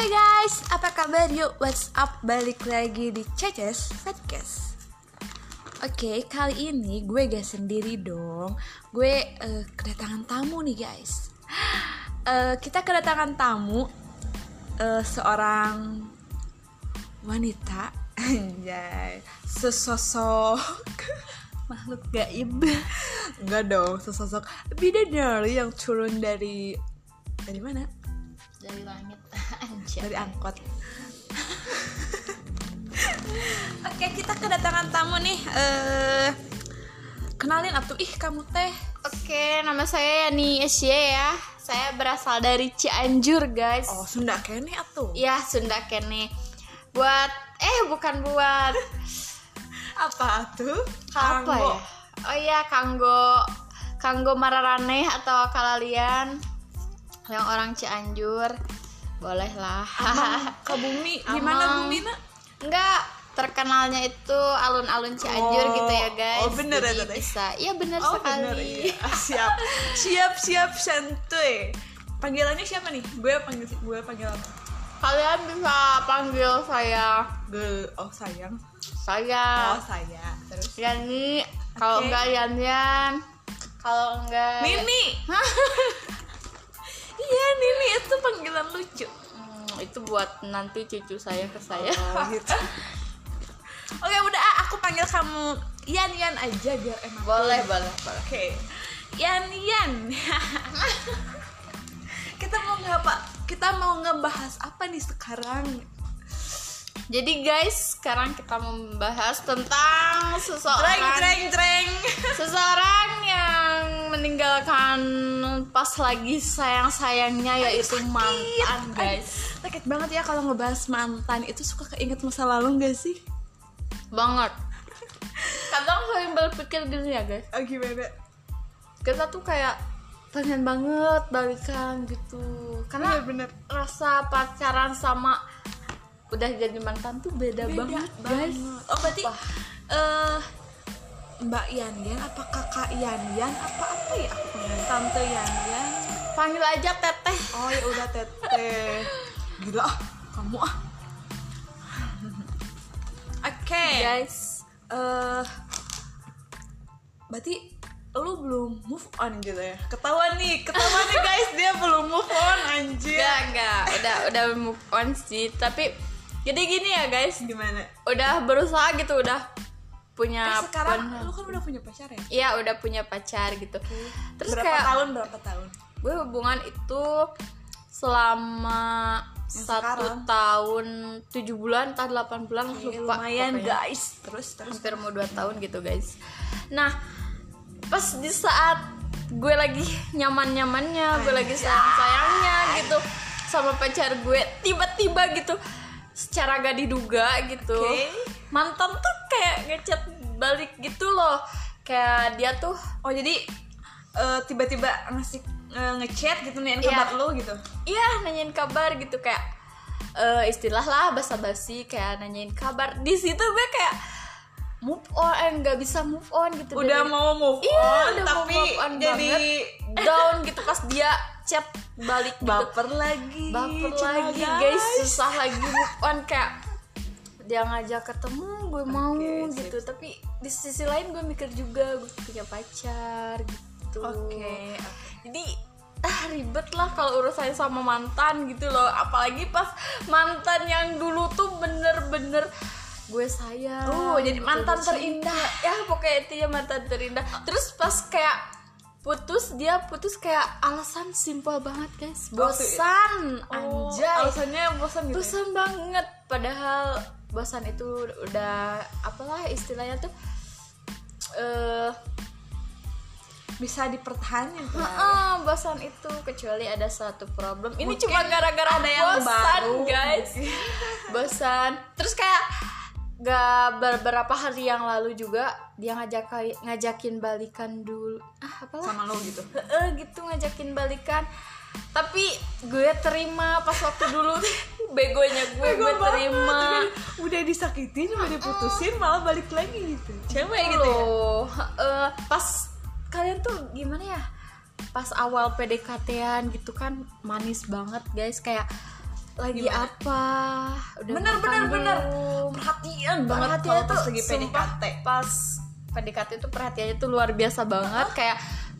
guys, apa kabar yuk? What's up? Balik lagi di Ceces Podcast Oke, kali ini gue gak sendiri dong Gue eh, kedatangan tamu nih guys Eh, Kita kedatangan tamu eh, Seorang wanita Anjay Sesosok Makhluk gaib Enggak dong, sesosok bidadari yang turun dari Dari mana? dari langit anjir dari angkot. Oke, kita kedatangan tamu nih. eh kenalin atuh ih kamu teh. oke nama saya Yani Esye ya saya berasal dari Cianjur guys Oh, Sunda kene atuh. ya Sunda kene buat eh bukan buat Apa atuh? Kanggo. apa ya oh ya kanggo kanggo mararane atau kalalian yang orang Cianjur bolehlah Ke bumi. Gimana Amang. bumi nak? enggak terkenalnya itu alun-alun Cianjur Oh, gitu ya guys oh, bener ya, Jadi Teteh? bisa iya bener Oh sekali bener ya. Siap, siap, siap, santuy. Panggilannya siapa nih? Gue panggil gue panggilan. kalian bisa panggil saya Girl, oh sayang. saya Oh sayang. Terus. Yani kalau Oke. enggak Yan Yan kalau enggak Nini. Eh. Iya Nini itu panggilan lucu. Hmm, itu buat nanti cucu saya ke saya Oh, gitu. Oke udah ah, aku panggil kamu Yan Yan aja biar enak. Oke boleh boleh boleh Yan Yan. kita mau ngapa? Kita mau ngebahas apa nih sekarang? jadi guys sekarang kita membahas tentang seseorang Dreng dreng dreng. seseorang yang meninggalkan pas lagi sayang sayangnya yaitu mantan guys Sakit banget ya kalau ngebahas mantan itu suka keinget masa lalu gak sih? banget kadang saya berpikir gini ya guys Oh, gimana? kita tuh kayak pengen banget balikan gitu karena Iya, bener. rasa pacaran sama udah jadi mantan tuh beda, Beda banget banget, guys Oh berarti Wah. eh, Mbak Yan Yan apa kakak Yan Yan apa apa ya? Aku pengen Tante Yan Yan. panggil aja teteh Oh ya udah teteh. Gila ah, kamu ah. Oke. Eh guys berarti lu belum move on gitu ya. Ketahuan nih, ketahuan nih guys, dia belum move on anjir. Iya. enggak enggak udah udah move on sih tapi jadi gini ya guys Gimana? udah berusaha gitu udah punya Eh, sekarang pen- lu kan udah punya pacar ya? Iya udah punya pacar gitu terus berapa kayak tahun berapa tahun? gue hubungan itu selama Yang satu sekarang. tahun tujuh bulan entah delapan bulan Eh, lupa lumayan pokoknya. guys. Terus terus hampir mau dua tahun gitu guys nah pas di saat gue lagi nyaman nyamannya gue lagi sayang sayangnya gitu sama pacar gue tiba-tiba gitu secara gak diduga gitu Oke. mantan tuh kayak ngechat balik gitu loh kayak dia tuh Oh jadi eh, tiba-tiba ngasih eh, ngechat gitu nih Iya. kabar lu gitu. iya nanyain kabar gitu kayak eh, istilah lah basa basi kayak nanyain kabar di situ gue kayak move on eh, nggak bisa move on gitu Udah dari- mau move on Iya, udah mau tapi move on jadi down gitu pas dia chat balik gitu baper lagi baper Cina lagi guys susah lagi move on kayak dia ngajak ketemu gue mau Oke, gitu tapi di sisi lain gue mikir juga gue punya pacar gitu oke jadi ah, ribet lah kalau urusan sama mantan gitu loh apalagi pas mantan yang dulu tuh bener-bener gue sayang Oh, jadi mantan Gue cinta. ya pokoknya intinya mantan terindah terus pas kayak putus dia putus kayak alasan simpel banget guys Waktu- bosan Oh, anjay alasannya bosan gitu ya? bosan banget padahal bosan itu udah apalah istilahnya tuh eh bisa dipertahankan Iya, kan? Heeh, bosan itu kecuali ada satu problem. Ini Mungkin cuma gara-gara ada ada yang bosan, baru. guys. bosan. Terus kayak gak beberapa hari yang lalu juga dia ngajak ngajakin balikan dulu. Ah, apalah. sama lo gitu Heeh, gitu ngajakin balikan. Tapi gue terima pas waktu dulu begonya gue gue banget, terima. udah, udah disakitin udah diputusin malah balik lagi gitu cewek gitu ya loh Eh, pas kalian tuh gimana ya pas awal PDKT-an gitu kan manis banget guys kayak lagi Gimana? apa udah Bener, makan bener, bener. belum? Perhatian banget perhatiannya kalau ya tuh pas lagi sumpah, PDKT. pas PDKT itu perhatiannya tuh luar biasa banget kayak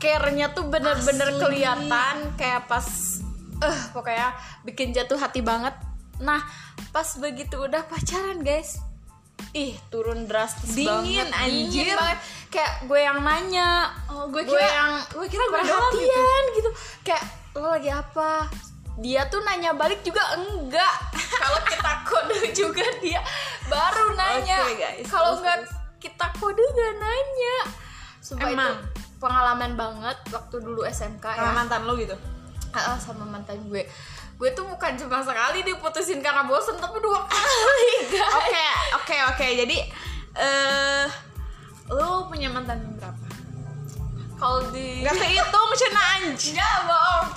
care-nya tuh bener-bener Asli. kelihatan kayak pas eh pokoknya bikin jatuh hati banget nah pas begitu udah pacaran guys ih turun drastis Dingin, banget anjir. dingin banget kayak gue yang nanya Oh, gue kira- gue kira gue doang gitu. perhatian gitu kayak lo lagi apa dia tuh nanya balik juga enggak kalau kita kode juga dia baru nanya Oke, guys. kalau Terus, enggak kita kode gak nanya Sumpah itu Emang? pengalaman banget waktu dulu SMK Sama ya mantan lo gitu. Ah, sama mantan gue gue tuh bukan cuma sekali diputusin karena bosen tapi dua kali guys Oke, oke, oke. Jadi eh lu punya mantan berapa? kalau di Gak kehitung cina anjing. enggak bohong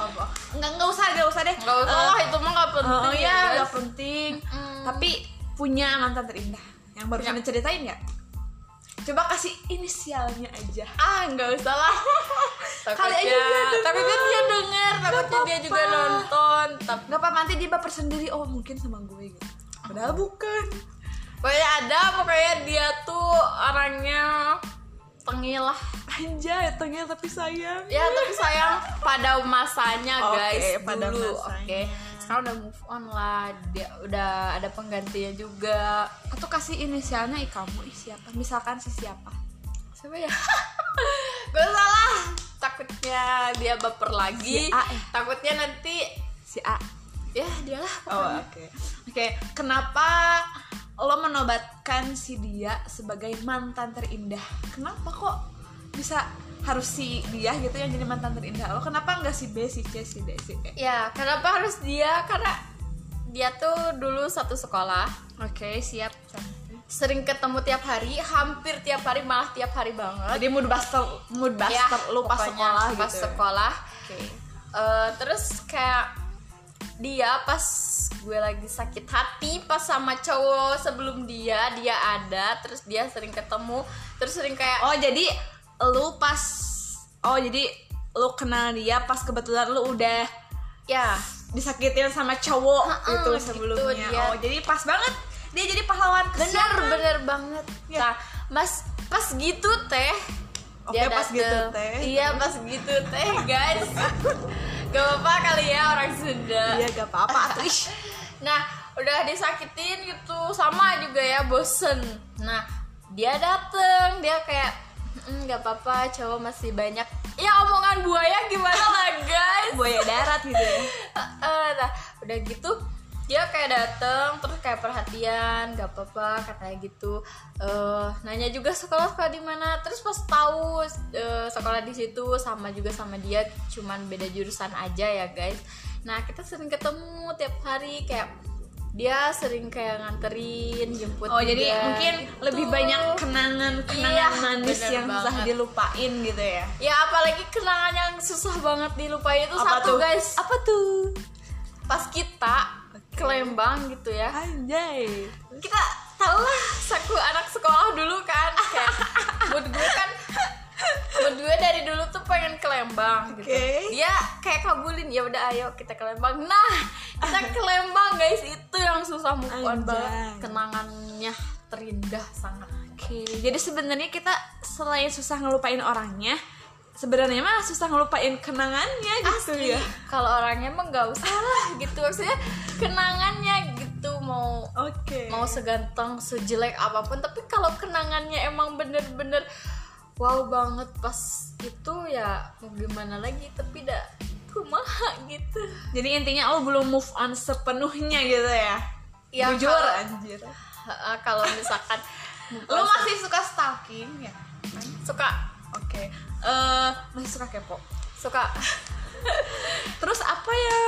Enggak enggak usah, enggak usah deh. enggak usah lah, itu mah gak penting Oh Eh, iya, guys. enggak penting. Mm. Ya. Tapi punya mantan terindah yang baru Punya. ceritain nggak? Coba kasih inisialnya aja. ah nggak usah lah Kali aja takutnya dia denger. takutnya dia denger takutnya dia juga apa-apa. nonton tapi Gak apa-apa nanti dia baper sendiri. Oh mungkin sama gue gitu. Padahal bukan. pokoknya ada pokoknya dia tuh orangnya tengil lah Anjay, tengil tapi sayang. ya tapi sayang pada masanya Oke, guys pada dulu oke masanya. sekarang udah move on lah dia udah ada penggantinya juga Atau kasih inisialnya ih kamu ih siapa? Misalkan si siapa? siapa ya gue salah takutnya dia baper lagi Si A ya? takutnya nanti Si A. ya dialah Oh, pokoknya oke. Oke, kenapa lo menobatkan si dia sebagai mantan terindah? Kenapa kok bisa harus si dia gitu yang jadi mantan terindah lo? Kenapa nggak si B, si C, si D, si E? Oke, Ya, kenapa harus dia? Karena dia tuh dulu satu sekolah, siap. sering ketemu tiap hari, hampir tiap hari malah tiap hari banget. Jadi mood buster, mood buster Ya, lo pas pokoknya sekolah gitu. Pas ya? sekolah. Oke. Eh, terus kayak dia pas gue lagi sakit hati pas sama cowok sebelum dia dia ada terus dia sering ketemu terus sering kayak Oh, jadi lo pas Oh, jadi lo kenal dia pas kebetulan lo udah ya disakitin sama cowok Ha-ha, gitu gitu sebelumnya. dia. Oh, jadi pas banget dia jadi pahlawan. bener Kesian. bener banget kan? Ya. nah mas pas gitu teh Oke, pas dateng. gitu teh. iya pas gitu teh guys gak apa-apa kali ya orang Sunda Iya gak apa-apa Atrish nah udah disakitin gitu sama juga ya bosen nah dia dateng dia kayak "Mm, nggak apa-apa cowok masih banyak ya omongan buaya gimana lah guys Buaya darat gitu ya Eh, nah udah gitu dia kayak dateng terus kayak perhatian gak apa-apa katanya gitu eh nanya juga sekolah sekolah di mana terus pas tahu eh, sekolah di situ sama juga sama dia cuman beda jurusan aja ya guys nah kita sering ketemu tiap hari kayak dia sering kayak nganterin jemput Oh jadi juga mungkin gitu. lebih banyak kenangan-kenangan Iya, manis bener yang susah banget. dilupain gitu ya ya apalagi kenangan yang susah banget dilupain itu Apa satu tuh? guys Apa tuh? pas kita ke Lembang gitu ya Anjay kita tau lah saku anak sekolah dulu kan kayak mood gue kan mood gue dari dulu tuh pengen ke Lembang gitu Oke. dia kayak kabulin ya udah ayo kita ke Lembang nah kita ke Lembang guys itu yang susah move on Anjay. banget kenangannya terindah sangat Oke jadi sebenarnya kita selain susah ngelupain orangnya sebenarnya mah susah ngelupain kenangannya gitu asli ya kalau orangnya emang gak usah lah gitu maksudnya kenangannya gitu mau Oke mau seganteng sejelek apapun tapi kalau kenangannya emang bener-bener wow banget pas itu ya mau gimana lagi tapi dah kumaha gitu Jadi intinya lo belum move on sepenuhnya gitu ya Ya, Jujur kalau- anjir Ha, kalau misalkan Lo masih suka stalking ya? suka Oke Eh, Masih suka kepo? suka Terus apa yang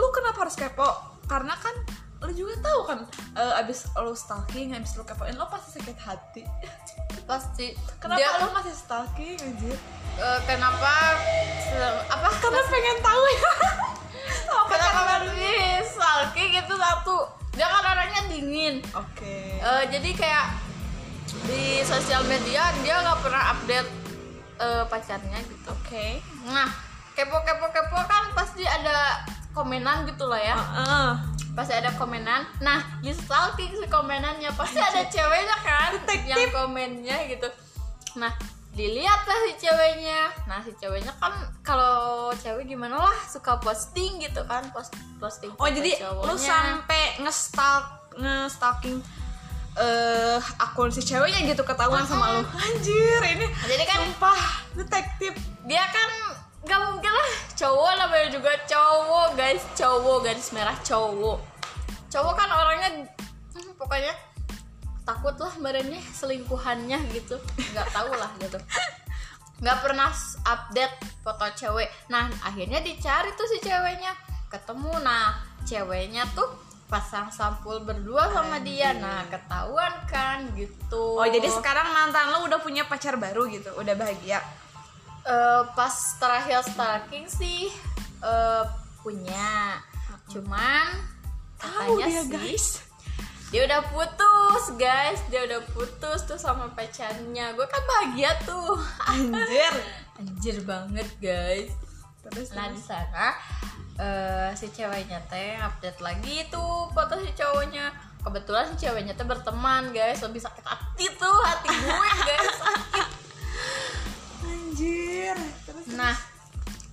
lu kenapa harus kepo? Karena kan lu juga tahu kan eh, abis lu stalking, abis lu kepoin lu pasti sakit hati. pasti Kenapa Dia- lu masih stalking anjir? eh, kenapa se- apa Karena pengen tahu ya. Sama pacar kenapa lu. sih salki gitu satu dia kan orangnya dingin Oke. Eh, jadi kayak di sosial media dia nggak pernah update eh, pacarnya gitu. Oke. Nah, kepo kepo kepo kan pasti ada komenan gitu loh Eh, ya Heeh. pasti ada komenan nah gestalting si komenannya pasti ada ceweknya kan Detektif. yang komennya gitu nah dilihatlah si ceweknya nah si ceweknya kan kalau cewek gimana lah suka posting gitu kan post posting Oh foto jadi lu cowoknya. sampai ngestalk ngestalking eh akun si ceweknya gitu ketahuan sama lu. Iya Anjir, ini Jadi kan- sumpah detektif. dia kan nggak mungkin lah cowok namanya juga cowok guys cowok garis merah cowok cowok kan orangnya hmm, pokoknya takut lah badannya selingkuhannya gitu nggak tahu lah gitu nggak pernah s- update foto cewek nah akhirnya dicari tuh si ceweknya ketemu nah ceweknya tuh pasang sampul berdua sama dia nah ketahuan kan gitu Oh, jadi sekarang mantan lu udah punya pacar baru gitu, udah bahagia. Eh, pas terakhir stalking sih eh, punya cuman Tahu katanya dia, sih guys. dia udah putus guys dia udah putus tuh sama pacarnya gue kan bahagia tuh Anjir. anjir banget guys Terus nah di sana eh, si ceweknya teh update lagi tuh foto si cowoknya kebetulan si ceweknya teh berteman guys lebih sakit hati tuh hati gue guys anjir. Terus Nah,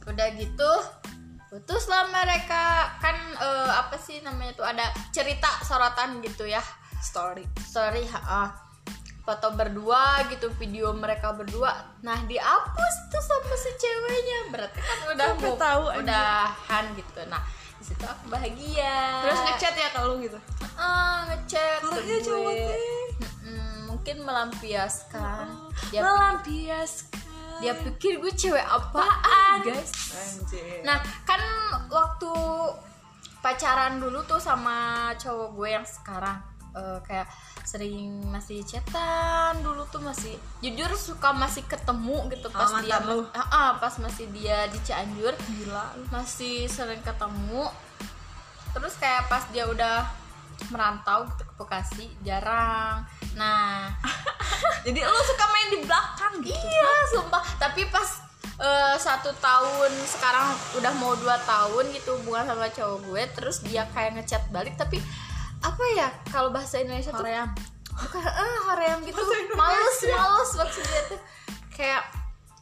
udah gitu putuslah mereka kan eh, apa sih namanya tuh ada cerita sorotan gitu ya story. sorry ha, ah. foto berdua gitu video mereka berdua nah dihapus tuh sama si ceweknya berarti kan udah Sampai mau tahu, anjir. udahan gitu nah di situ aku bahagia Terus ngechat ya ke lu gitu. ah ngechat ke Peluknya gue. cowok teh. Mm-mm, mungkin melampiaskan Oh, Ya. dia Melampiaskan. dia pikir gue cewek apaan guys Anjir. Nah, kan waktu pacaran dulu tuh sama cowok gue yang sekarang eh, kayak sering masih chatan dulu tuh masih jujur suka masih ketemu gitu pas Sama dia mantan lu? Ah, ah, pas masih dia di Cianjur gila lu. masih sering ketemu terus kayak pas dia udah merantau gitu ke Bekasi jarang nah Jadi lu suka main di belakang gitu. Iya, sumpah. Tapi pas eh, satu tahun sekarang udah mau dua tahun gitu hubungan sama cowok gue, terus dia kayak ngechat balik, tapi apa ya kalau bahasa Indonesia tuh Korea. bukan eh hoream gitu, Bahasa Indonesia. males males maksudnya tuh kayak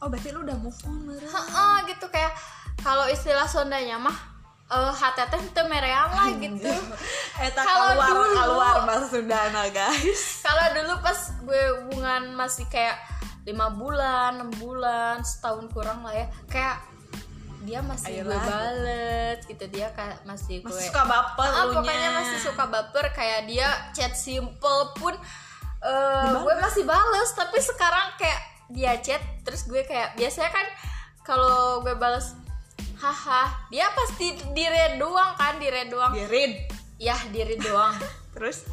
Oh, berarti lu udah move on, Mara. heeh gitu kayak kalau istilah Sundanya mah eh hati teh teu mereang lah gitu. Eta Eh, Kalau keluar, dulu- keluar bahasa Sundana, guys. kalau dulu pas gue hubungan masih kayak lima bulan enam bulan setahun kurang lah ya kayak dia masih gue Ayolah. balet gitu dia kayak masih gue Masih suka baper Ah, lunya. pokoknya masih suka baper kayak dia chat simple pun eh, gue masih bales tapi sekarang kayak dia chat terus gue kayak biasanya kan kalau gue bales haha dia pasti di red doang kan di red doang Biarin. Iya. yah diri doang Terus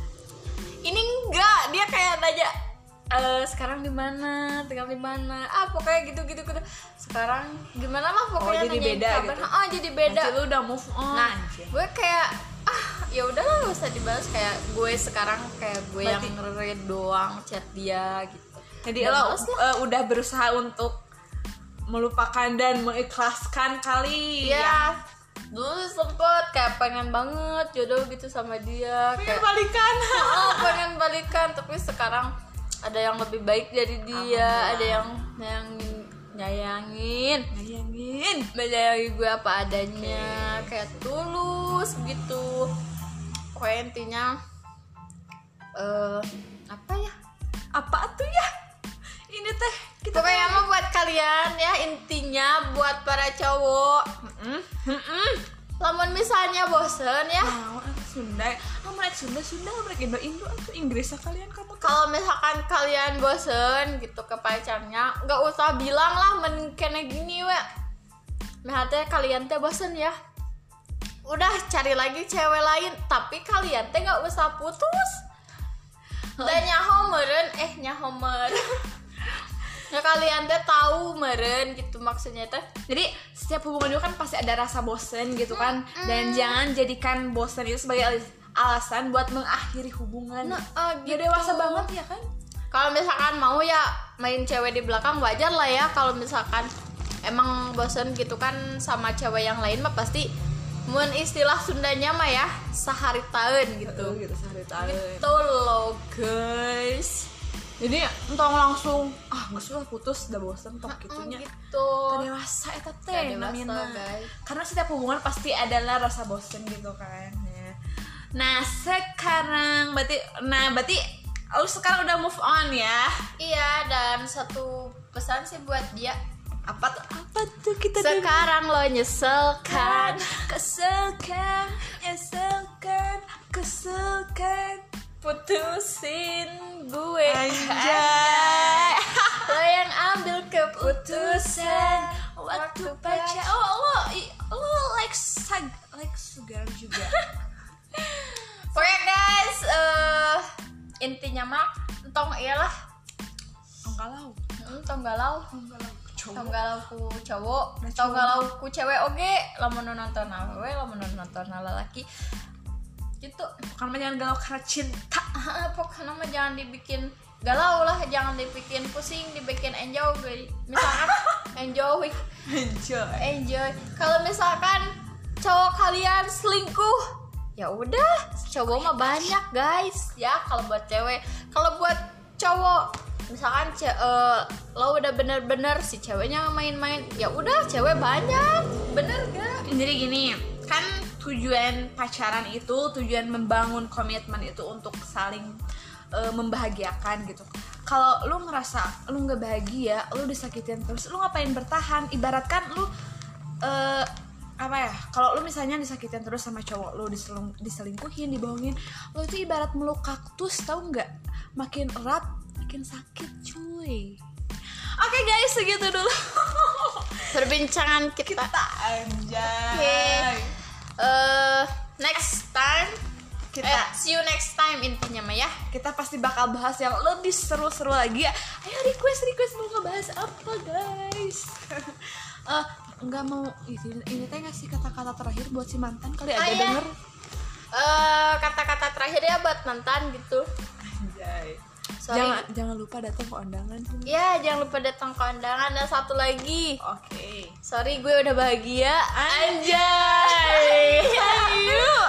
ini enggak dia kayak nanya "Eh, sekarang di mana tinggal di mana ah pokoknya gitu gitu gitu sekarang gimana lah pokoknya Oh, jadi nanyain beda kabar. gitu. oh jadi beda berarti lu udah move on. nah gue kayak ah ya udahlah gak usah dibahas kayak gue sekarang kayak gue Berarti- yang ngerit doang chat dia gitu jadi Dan lo males lah. eh, udah berusaha untuk melupakan dan mengikhlaskan kali. iya dulu sempet kayak pengen banget jodoh gitu sama dia Pengen kayak balikan. oh pengen balikan tapi sekarang ada yang lebih baik dari dia ada yang yang nyayangin Bayangin. menyayangi gue apa adanya kayak tulus gitu pokoknya intinya eh apa ya Apa tuh ya? Ini teh kita pokoknya mah buat kalian ya intinya buat para cowok Mm, mm, mm. lamun misalnya bosen ya Mau ah, Sunda. Ah, mereka Sunda Sunda mereka Indo Indo atau Inggris ah, kalian kamu kan. kalau misalkan kalian bosen gitu ke pacarnya nggak usah bilang lah men kene gini we nah teh kalian teh bosen ya udah cari lagi cewek lain tapi kalian teh nggak usah putus dan nyaho meren eh nyaho meren ya kalian teh tahu meren gitu maksudnya teh Jadi setiap hubungan itu kan pasti ada rasa bosen gitu kan dan jangan jadikan bosen itu sebagai alis- alasan buat mengakhiri hubungan. Nah, Nah, eh, dia gitu. dewasa banget ya kan? kalau misalkan mau ya main cewek di belakang wajar lah ya kalau misalkan emang bosen gitu kan sama cewek yang lain mah pasti mun istilah Sundanya mah ya sehari tahun gitu Tuh, gitu sehari tahun gitu loh guys jadi entong langsung ah nggak sudah putus udah bosen tok gitunya gitu Teu dewasa eta teh Teu dewasa, namina. guys. karena setiap hubungan pasti adalah rasa bosen gitu kan ya. nah sekarang berarti nah berarti lu sekarang udah move on ya iya dan satu pesan sih buat dia apa tuh apa tuh kita sekarang lo nyesel kan kan keselkan keselkan keselkan putusin gue Anjay. lo yang ambil keputusan waktu pacar oh lo i- lo like sag like sugar juga pokoknya guys eh, intinya mah entong iyalah enggak lau entong galau enggak lau entong cowok galau ku cowok entong galau ku cewek oge lamun nu nonton awewe lamun nu nonton lalaki gitu Ah, bukan mah jangan galau karena cinta pokoknya mah jangan dibikin galau lah jangan dibikin pusing dibikin enjoy guys. misalkan enjoy enjoy enjoy kalau misalkan cowok kalian selingkuh ya udah cowok mah banyak guys ya kalau buat cewek kalau buat cowok misalkan ce- eh, lo udah bener-bener si ceweknya main-main ya udah cewek banyak bener gak jadi gini kan tujuan pacaran itu tujuan membangun komitmen itu untuk saling eh, membahagiakan gitu kalau lu ngerasa lu nggak bahagia lu disakitin terus lu ngapain bertahan ibaratkan lu eh, apa ya kalau lu misalnya disakitin terus sama cowok lu diselung- diselingkuhin dibohongin lu itu ibarat meluk kaktus tau nggak makin erat makin sakit cuy oke guys segitu dulu perbincangan kita, anjay Eh, next time Kita- eh, see you next time intinya mah ya kita pasti bakal bahas yang lebih seru-seru lagi ya ayo request request mau ngebahas apa guys Eh, nggak mau ini, ini teh ngasih kata-kata terakhir buat si mantan kali ada Ah, iya. denger Eh, kata-kata terakhir ya buat mantan gitu Sorry. jangan jangan lupa datang ke undangan oke Ya, jangan lupa datang ke undangan dan satu lagi. Sorry, gue udah bahagia. Anjay. Ayo.